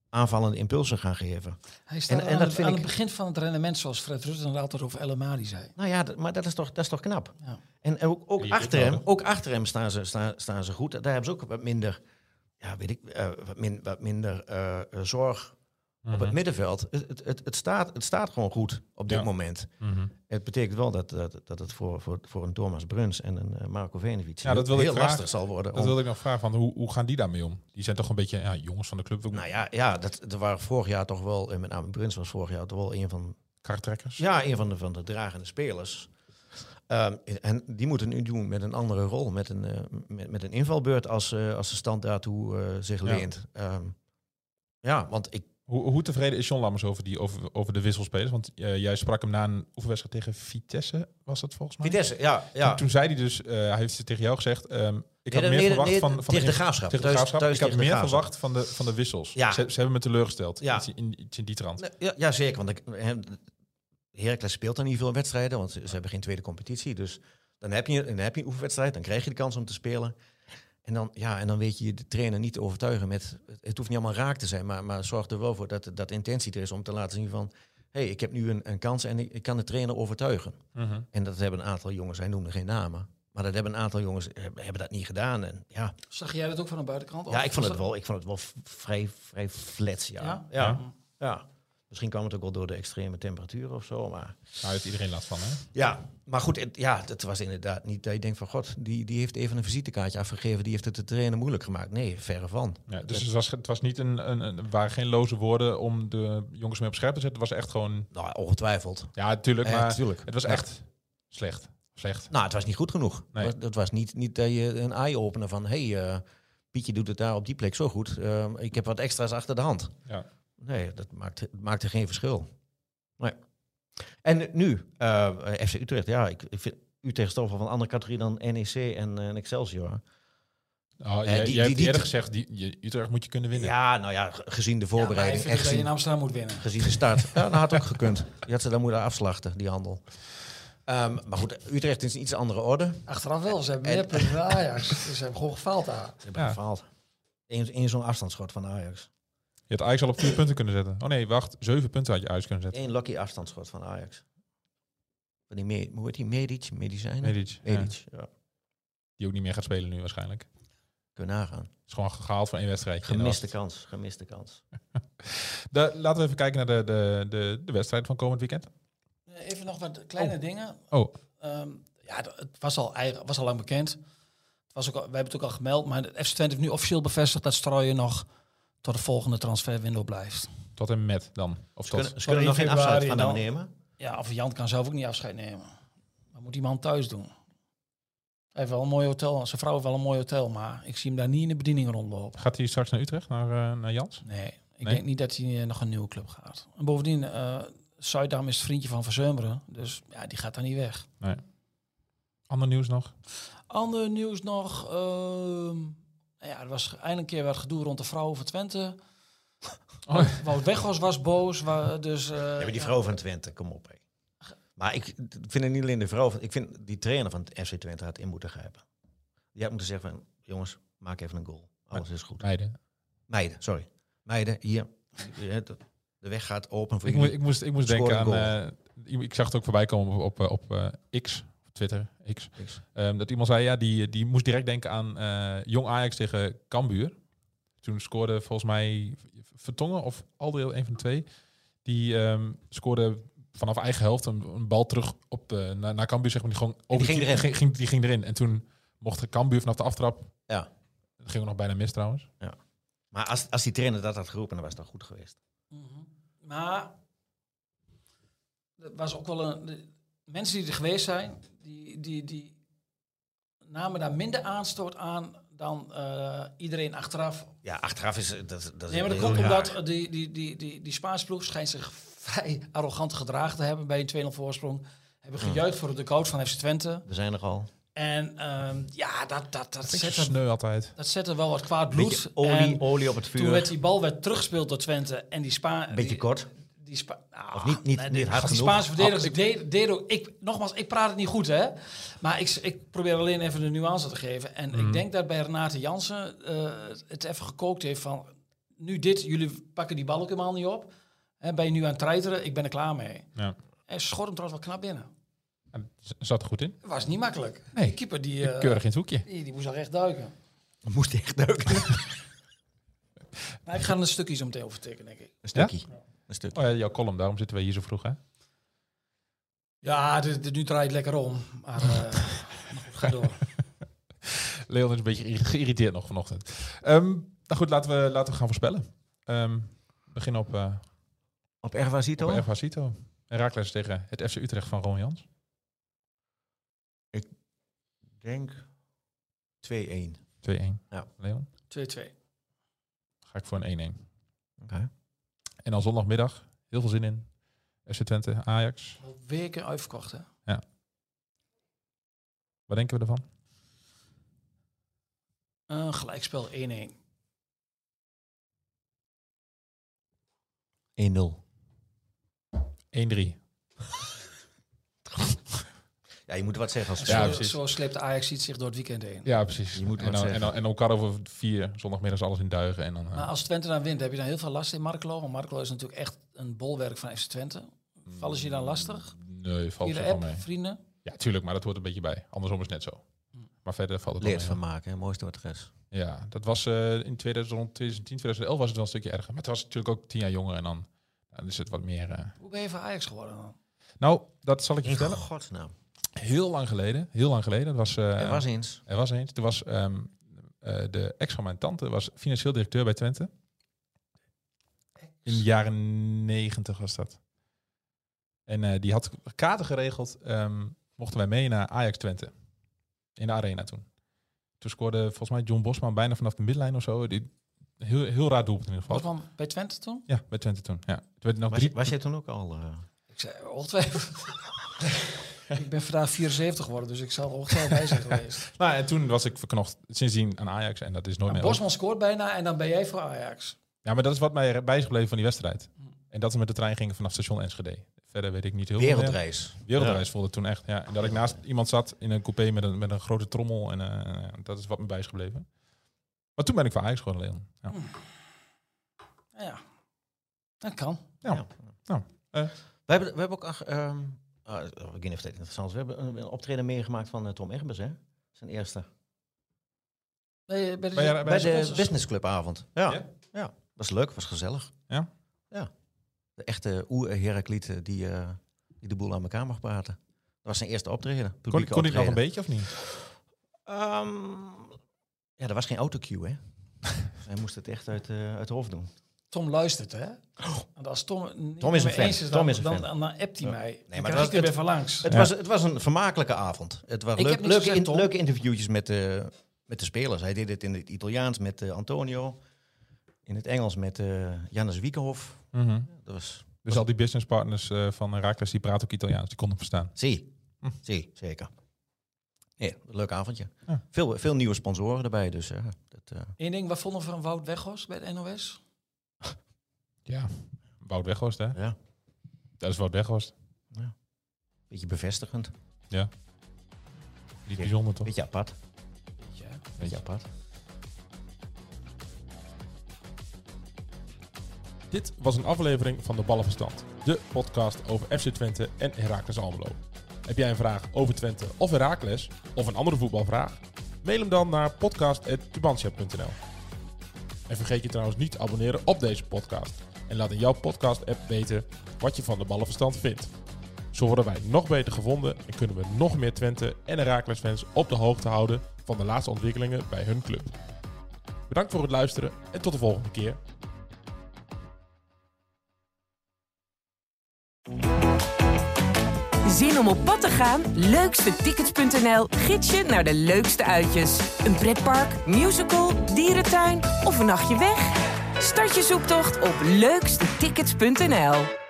Speaker 4: aanvallende impulsen gaan geven.
Speaker 5: Hij staat
Speaker 4: En- en
Speaker 5: aan,
Speaker 4: dat
Speaker 5: het,
Speaker 4: vind
Speaker 5: aan
Speaker 4: ik-
Speaker 5: het begin van het rendement, zoals Fred Rutte er altijd over El Amadi zei.
Speaker 4: Nou ja, dat- maar dat is toch, dat is toch knap?
Speaker 5: Ja.
Speaker 4: En en ook, ook,
Speaker 3: je
Speaker 4: achter
Speaker 3: kunt
Speaker 4: hem,
Speaker 3: wel,
Speaker 4: ook achter hem staan ze, staan, staan ze goed. Daar hebben ze ook wat minder, ja, weet ik, eh, wat, min- wat minder eh, eh, zorg op het middenveld. Het, het, het, het staat, het staat gewoon goed op dit
Speaker 3: Mhm. Ja.
Speaker 4: moment.
Speaker 3: Mhm.
Speaker 4: Het betekent wel dat, dat, dat het voor, voor, voor een Thomas Bruns en een eh, Marco Venovic
Speaker 3: Ja, dat wil ik
Speaker 4: heel
Speaker 3: graag-
Speaker 4: lastig zal worden.
Speaker 3: Dat
Speaker 4: om-
Speaker 3: wilde ik nog vragen, van hoe, hoe gaan die daarmee om? Die zijn toch een beetje ja, jongens van de club,
Speaker 4: nou ja, ja dat, er waren vorig jaar toch wel, eh, met name Bruns was vorig jaar toch wel een van
Speaker 3: kartrekkers.
Speaker 4: Ja, een van de, van de dragende spelers. Ehm, en die moeten nu doen met een andere rol, met een, eh, met, met een invalbeurt als, eh, als de stand daartoe eh, zich
Speaker 3: Ja.
Speaker 4: leent. Ehm, ja, want ik,
Speaker 3: Hoe, hoe tevreden is John Lammers over, die, over, over de wisselspelers? Want eh, jij sprak hem na een oefenwedstrijd tegen Vitesse, was dat volgens mij?
Speaker 4: Vitesse, ja. ja.
Speaker 3: Toen, toen zei hij dus, eh, hij heeft het tegen jou gezegd, ehm, ik
Speaker 4: Nee,
Speaker 3: had
Speaker 4: nee,
Speaker 3: meer
Speaker 4: nee,
Speaker 3: verwacht
Speaker 4: nee,
Speaker 3: van, van
Speaker 4: tegen de
Speaker 3: in-
Speaker 4: Graafschap.
Speaker 3: Tegen de
Speaker 4: Thuis-
Speaker 3: graafschap.
Speaker 4: thuis
Speaker 3: ik had
Speaker 4: tegen de
Speaker 3: meer
Speaker 4: Graafschap.
Speaker 3: verwacht van de, van de wissels.
Speaker 4: Ja.
Speaker 3: Ze, ze hebben me teleurgesteld.
Speaker 4: Ja.
Speaker 3: Iets, in, iets in die trant.
Speaker 4: Nee, ja, ja, zeker. Want ik, hè, Heracles speelt dan niet veel wedstrijden, want ze, ze hebben geen tweede competitie. Dus dan heb, je, dan heb je een oefenwedstrijd, dan krijg je de kans om te spelen. En dan, ja, en dan weet je de trainer niet te overtuigen met... Het hoeft niet allemaal raak te zijn, maar, maar zorg er wel voor dat, dat intentie er is... om te laten zien van, hé, hey, ik heb nu een, een kans en ik, ik kan de trainer overtuigen.
Speaker 3: Mhm.
Speaker 4: En dat hebben een aantal jongens, hij noemde geen namen... Maar dat hebben een aantal jongens eh, hebben dat niet gedaan. En ja,
Speaker 5: Zag jij dat ook van de buitenkant?
Speaker 4: ja
Speaker 5: Of
Speaker 4: ik, vond
Speaker 5: was
Speaker 4: het
Speaker 5: dat-
Speaker 4: wel, ik vond het wel v- vrij, vrij flats.
Speaker 5: Ja?
Speaker 4: ja. ja.
Speaker 3: Ja.
Speaker 4: Ja, misschien kwam het ook wel door de extreme temperaturen of zo. Maar,
Speaker 3: Daar Nou, heeft iedereen last van, hè?
Speaker 4: ja, maar goed, het, ja, dat was inderdaad niet dat je denkt van... God, die, die heeft even een visitekaartje afgegeven. Die heeft het de trainer moeilijk gemaakt. Nee, verre van.
Speaker 3: Ja, dus het was, het was niet een, een, een- er waren geen loze woorden om de jongens mee op scherp te zetten. Het was echt gewoon,
Speaker 4: Nou, ongetwijfeld.
Speaker 3: ja, tuurlijk,
Speaker 4: Eh,
Speaker 3: maar
Speaker 4: tuurlijk.
Speaker 3: het was
Speaker 4: Ja.
Speaker 3: echt slecht. Slecht.
Speaker 4: Nou, het was niet goed genoeg.
Speaker 3: Nee.
Speaker 4: Dat, dat was niet, niet dat je een eye-opener van... Hé, hey, eh, Pietje doet het daar op die plek zo goed. Ehm, ik heb wat extra's achter de hand.
Speaker 3: Ja.
Speaker 4: Nee, dat maakte, maakte geen verschil. Nee. En nu, eh, FC Utrecht. Ja, ik, ik vind Utrecht is toch wel van een andere categorie dan NEC en, eh, en Excelsior.
Speaker 3: Oh, jij
Speaker 4: Eh, die-
Speaker 3: jij
Speaker 4: die-
Speaker 3: hebt
Speaker 4: die-
Speaker 3: eerder gezegd, die, je, Utrecht moet je kunnen winnen.
Speaker 4: Ja, nou ja, ge- gezien de
Speaker 5: Ja, maar hij
Speaker 4: voorbereiding
Speaker 5: vindt
Speaker 4: en
Speaker 5: dat je nou- in
Speaker 4: gezien,
Speaker 5: Amsterdam moet winnen.
Speaker 4: gezien de start. ja, dat had ook gekund. Die had ze dan moeten afslachten, die handel. Ehm, maar goed, Utrecht is een iets andere orde. Ze
Speaker 6: Achteraf wel, ze hebben
Speaker 4: En-
Speaker 6: meer punten dan Ajax. Dus ze hebben gewoon gefaald daar.
Speaker 4: hebben
Speaker 3: Ja.
Speaker 4: gefaald. Eén één zo'n afstandsschot van Ajax.
Speaker 3: Je had Ajax al op
Speaker 4: [CLEARS THROAT]
Speaker 3: vier punten kunnen zetten. Oh nee, wacht, zeven punten had je Ajax kunnen zetten.
Speaker 4: Eén lucky afstandsschot van Ajax. Van die, Me- hoe heet die? Medic? Medicijnen?
Speaker 3: Medic, ja.
Speaker 4: Medic, ja.
Speaker 3: Die ook niet meer gaat spelen nu waarschijnlijk.
Speaker 4: Kun je nagaan.
Speaker 3: Is gewoon gehaald van één wedstrijdje. en dat was
Speaker 4: Gemiste kans, gemiste kans.
Speaker 3: De, laten we even kijken naar de, de, de, de wedstrijd van komend weekend.
Speaker 5: Even nog wat kleine dingen.
Speaker 3: Oh,
Speaker 5: Ehm, ja, d- het was al, eigen- was al lang bekend. Het was ook al, wij hebben het ook al gemeld, maar de FC Twente heeft nu officieel bevestigd dat Strooien nog tot de volgende transferwindow blijft.
Speaker 3: tot en met dan. Of
Speaker 4: Ze
Speaker 3: tot.
Speaker 4: kunnen, ze kunnen nog geen
Speaker 6: februari
Speaker 4: afscheid van
Speaker 6: dan.
Speaker 4: hem nemen.
Speaker 5: Ja, of Jan kan zelf ook niet afscheid nemen. Wat moet die man thuis doen? Hij heeft wel een mooi hotel, zijn vrouw heeft wel een mooi hotel, maar ik zie hem daar niet in de bediening rondlopen.
Speaker 3: Gaat hij straks naar Utrecht, naar, eh, naar Jans?
Speaker 5: Nee, ik
Speaker 3: Nee?
Speaker 5: denk niet dat hij eh, nog een nieuwe club gaat. En bovendien, eh Zuidam is het vriendje van Van Zeumeren, dus ja, die gaat daar niet weg.
Speaker 3: Ander nieuws nog?
Speaker 5: Ander nieuws nog. ehm, nou ja, er was eindelijk een keer wat gedoe rond de vrouw van Twente.
Speaker 3: Oh.
Speaker 5: Wout Weghorst was boos. wa- dus, eh,
Speaker 4: Ja, maar die
Speaker 5: ja.
Speaker 4: vrouw van Twente, kom op. Hé. Maar ik ik vind het niet alleen de vrouw van... Ik vind die trainer van het FC Twente had in moeten grijpen. Die had moeten zeggen van... Jongens, maak even een goal. Alles is
Speaker 3: [LAUGHS]
Speaker 4: goed.
Speaker 3: Leiden.
Speaker 4: Meiden, sorry. Meiden, hier. Eh, de- De weg gaat open voor
Speaker 3: Ik, moest,
Speaker 4: jullie.
Speaker 3: ik moest, ik moest
Speaker 4: Scoren
Speaker 3: denken aan...
Speaker 4: goal.
Speaker 3: eh, ik- ik zag het ook voorbij komen op, op, op eh, X, of Twitter, X.
Speaker 4: X.
Speaker 3: Ehm, dat iemand zei, ja, die, die moest direct denken aan eh, Jong Ajax tegen Cambuur. Toen scoorde volgens mij Vertongen of Aldeel, een van de twee. Die ehm, scoorde vanaf eigen helft een, een bal terug op, eh, naar, naar Cambuur, zeg maar. Die, gewoon over-
Speaker 4: ging erin.
Speaker 3: Ging, ging- die ging erin. En toen mocht Cambuur vanaf de aftrap...
Speaker 4: Ja.
Speaker 3: Dat ging ook nog bijna mis trouwens.
Speaker 4: Maar als, als die trainer dat had geroepen, dan was dat goed geweest.
Speaker 5: Mhm. Maar er was ook wel een. de mensen die er geweest zijn, die, die, die namen daar minder aanstoot aan dan eh, iedereen achteraf
Speaker 4: Ja, achteraf is eh, dat, dat is
Speaker 5: Nee, maar dat
Speaker 4: heel
Speaker 5: komt
Speaker 4: raar.
Speaker 5: omdat die, die, die, die, die Spaanse ploeg schijnt zich vrij arrogant gedragen te hebben bij een 2-0 voorsprong. Hebben gejuicht voor de coach van FC Twente.
Speaker 4: We zijn er al.
Speaker 5: En ehm, ja, dat, dat, dat,
Speaker 3: Zet
Speaker 5: zet,
Speaker 3: het
Speaker 5: er,
Speaker 3: sneu altijd.
Speaker 5: dat zet er wel wat kwaad bloed.
Speaker 4: Beetje olie,
Speaker 5: En
Speaker 4: olie op het
Speaker 5: toen werd
Speaker 4: vuur.
Speaker 5: die bal werd teruggespeeld door Twente. En die Spa...
Speaker 4: Beetje
Speaker 5: die-
Speaker 4: kort.
Speaker 5: Die Spa nou,
Speaker 4: Of niet- niet-
Speaker 5: nee,
Speaker 4: niet
Speaker 5: die-
Speaker 4: hard
Speaker 5: die
Speaker 4: genoeg.
Speaker 5: Spaanse verdedigers, De- Dedo, ik, nogmaals, ik praat het niet goed, hè. Maar ik, ik probeer alleen even de nuance te geven. En
Speaker 4: Mhm.
Speaker 5: ik denk dat bij Renate Jansen eh, het even gekookt heeft van... Nu dit, jullie pakken die bal ook helemaal niet op. En ben je nu aan het treiteren? Ik ben er klaar mee.
Speaker 3: Ja.
Speaker 5: En ze schot hem trouwens wel knap binnen.
Speaker 3: En z- Zat er goed in.
Speaker 5: Was niet makkelijk.
Speaker 3: Nee.
Speaker 5: Die keeper die, eh,
Speaker 3: Keurig in het hoekje.
Speaker 5: die, die moest al recht duiken.
Speaker 4: Moest echt duiken.
Speaker 5: Maar ik ga er een stukje zo meteen over tikken, denk ik.
Speaker 4: Een stukje. Een stukje.
Speaker 3: Oh ja, jouw column, daarom zitten we hier zo vroeg, hè?
Speaker 5: Ja, dit, dit- nu draait het lekker om. Maar [LAUGHS] eh, ga door.
Speaker 3: Leon is een beetje geïrri- geïrriteerd nog vanochtend. Ehm, nou goed, laten we, laten we gaan voorspellen. Ehm begin op, eh
Speaker 4: Op Ervasito?
Speaker 3: op Ervasito. Herakles tegen het FC Utrecht van Ron Jans.
Speaker 4: denk 2-1.
Speaker 3: 2-1.
Speaker 4: Ja.
Speaker 3: Leon,
Speaker 5: 2-2.
Speaker 3: ga ik voor een 1-1.
Speaker 4: Oké.
Speaker 3: En dan zondagmiddag, heel veel zin in. FC Twente, Ajax.
Speaker 5: Al Weken uitverkocht, hè?
Speaker 3: Wat denken we ervan?
Speaker 5: Een gelijkspel 1-1.
Speaker 3: 1-3.
Speaker 4: 1-0. Ja, je moet wat zeggen als
Speaker 3: Ja,
Speaker 5: zo,
Speaker 3: precies.
Speaker 5: zo sleept de Ajax iets zich door het weekend heen.
Speaker 3: Ja, precies.
Speaker 4: Je moet
Speaker 3: en,
Speaker 4: wat
Speaker 3: dan, en,
Speaker 4: zeggen. Ah,
Speaker 3: dan, en dan kwart over vier, zondagmiddags alles in duigen. En dan, eh,
Speaker 5: Maar als Twente dan wint, heb je dan heel veel last in Marklo. Want Marklo is natuurlijk echt een bolwerk van FC Twente. Vallen ze je dan lastig?
Speaker 3: nee, valt
Speaker 5: Jullie
Speaker 3: er wel
Speaker 5: app,
Speaker 3: mee.
Speaker 5: vrienden?
Speaker 3: Ja, tuurlijk, maar dat hoort een beetje bij. Andersom is het net zo.
Speaker 4: Hm.
Speaker 3: Maar verder valt het wel
Speaker 4: leert
Speaker 3: mee.
Speaker 4: van maken. Hè? Mooiste wat er is.
Speaker 3: Ja, dat was eh, in 2010, 2011 was het wel een stukje erger. Maar het was natuurlijk ook tien jaar jonger en dan, dan is het wat meer... eh.
Speaker 5: Hoe ben je van Ajax geworden dan?
Speaker 3: Nou, dat zal ik je
Speaker 4: In
Speaker 3: vertellen.
Speaker 4: godsnaam.
Speaker 3: Heel lang geleden, heel lang geleden. Dat was, eh,
Speaker 4: Er was eens.
Speaker 3: er was eens. Toen was ehm, eh, de ex van mijn tante, was financieel directeur bij Twente. In de jaren negentig was dat. En eh, die had kaarten geregeld. ehm, mochten wij mee naar Ajax Twente. In de arena toen. Toen scoorde volgens mij John Bosman bijna vanaf de midlijn of zo. Die, heel, heel raar doelpunt in ieder
Speaker 5: Wat
Speaker 3: geval.
Speaker 5: kwam bij Twente toen?
Speaker 3: Ja, bij Twente toen. Ja. Het werd nog
Speaker 4: Was,
Speaker 3: drie-
Speaker 4: was jij toen ook al... eh,
Speaker 5: Ik zei, ongetwijfeld.
Speaker 3: [LAUGHS]
Speaker 5: ik ben vandaag 74 geworden, dus ik zal er ongetwijfeld bij zijn geweest.
Speaker 3: Nou, en toen was ik verknocht sindsdien aan Ajax. En dat is nooit
Speaker 5: Maar
Speaker 3: meer...
Speaker 5: Bosman scoort bijna en dan ben jij voor Ajax.
Speaker 3: Ja, maar dat is wat mij er- bij is gebleven van die wedstrijd. En dat we met de trein gingen vanaf station Enschede. Verder weet ik niet heel veel. meer.
Speaker 4: wereldreis.
Speaker 3: Wereldreis voelde het toen echt. Ja. En dat ik naast iemand zat in een coupé met een, met een grote trommel. En eh, dat is wat me bij is gebleven. Maar toen ben ik voor Ajax geworden, Leon. Ja.
Speaker 5: Nou Ja, dat kan.
Speaker 3: Ja. Nou, eh.
Speaker 4: we, hebben, we hebben ook... ach, ehm, ah, ik weet niet of dit interessant is. We hebben een, een optreden meegemaakt van eh, Tom Egbers, hè? Zijn eerste.
Speaker 5: Ben je, ben je-
Speaker 3: Ben jij- ben
Speaker 4: Bij
Speaker 3: Bij
Speaker 4: de
Speaker 5: sponsors?
Speaker 4: Business Clubavond. Ja.
Speaker 3: Ja?
Speaker 4: ja. Was leuk, was gezellig.
Speaker 3: Ja?
Speaker 4: Ja. De echte oer-Heraklieten die, eh, die de boel aan elkaar mag praten. Dat was zijn eerste optreden.
Speaker 3: kon, ik-
Speaker 4: publieke
Speaker 3: kon ik nog een
Speaker 4: optreden.
Speaker 3: beetje of niet?
Speaker 4: Ehm, ja, er was geen autocue, hè? [LAUGHS] Hij moest het echt uit, eh, uit de hoofd doen.
Speaker 5: Tom luistert, hè? Want als Tom, niet
Speaker 4: Tom is een
Speaker 5: mee
Speaker 4: fan.
Speaker 5: eens is,
Speaker 4: Tom
Speaker 5: dan,
Speaker 4: is een
Speaker 5: dan,
Speaker 4: fan.
Speaker 5: dan, appt hij mij. Nee,
Speaker 4: maar
Speaker 5: maar
Speaker 4: dat
Speaker 5: dan
Speaker 4: was-
Speaker 5: ik er
Speaker 4: het-
Speaker 5: weer van langs.
Speaker 4: Het, was, het was een vermakelijke avond. Het was
Speaker 5: Ik
Speaker 4: leuk,
Speaker 5: heb niks
Speaker 4: leuke,
Speaker 5: gezegd,
Speaker 4: in-
Speaker 5: Tom.
Speaker 4: leuke interviewtjes met, de met de spelers. Hij deed het in het Italiaans met eh, Antonio. In het Engels met eh Jannes Wiekenhof.
Speaker 3: Mhm.
Speaker 4: Dat was...
Speaker 3: Dus al die businesspartners eh van Raakles, die praten ook Italiaans. Die konden hem verstaan.
Speaker 4: Zie.
Speaker 3: Hm.
Speaker 4: Zie, zeker. Nee, een leuk avondje.
Speaker 3: Ja.
Speaker 4: Veel, veel nieuwe sponsoren erbij, dus eh, dat, eh,
Speaker 5: Eén ding, wat vonden we van Wout Weghorst bij het NOS?
Speaker 3: Ja. Wout Weghorst, hè?
Speaker 4: Ja.
Speaker 3: Dat is Wout Weghorst.
Speaker 4: een beetje bevestigend. Een
Speaker 3: Niet bijzonder, toch?
Speaker 4: beetje apart.
Speaker 5: Ja.
Speaker 4: beetje apart.
Speaker 3: Dit was een aflevering van de Ballenverstand, de podcast over FC Twente en Heracles Almelo. Heb jij een vraag over Twente of Heracles of een andere voetbalvraag? Mail hem dan naar podcast@tubantia.nl. En vergeet je trouwens niet te abonneren op deze podcast en laat in jouw podcast app weten wat je van de Ballenverstand vindt. Zo worden wij nog beter gevonden en kunnen we nog meer Twente en Heracles fans op de hoogte houden van de laatste ontwikkelingen bij hun club. Bedankt voor het luisteren en tot de volgende keer.
Speaker 7: Zin om op pad te gaan? Leukstetickets.nl gids je naar de leukste uitjes. Een pretpark, musical, dierentuin of een nachtje weg? Start je zoektocht op leukstetickets.nl.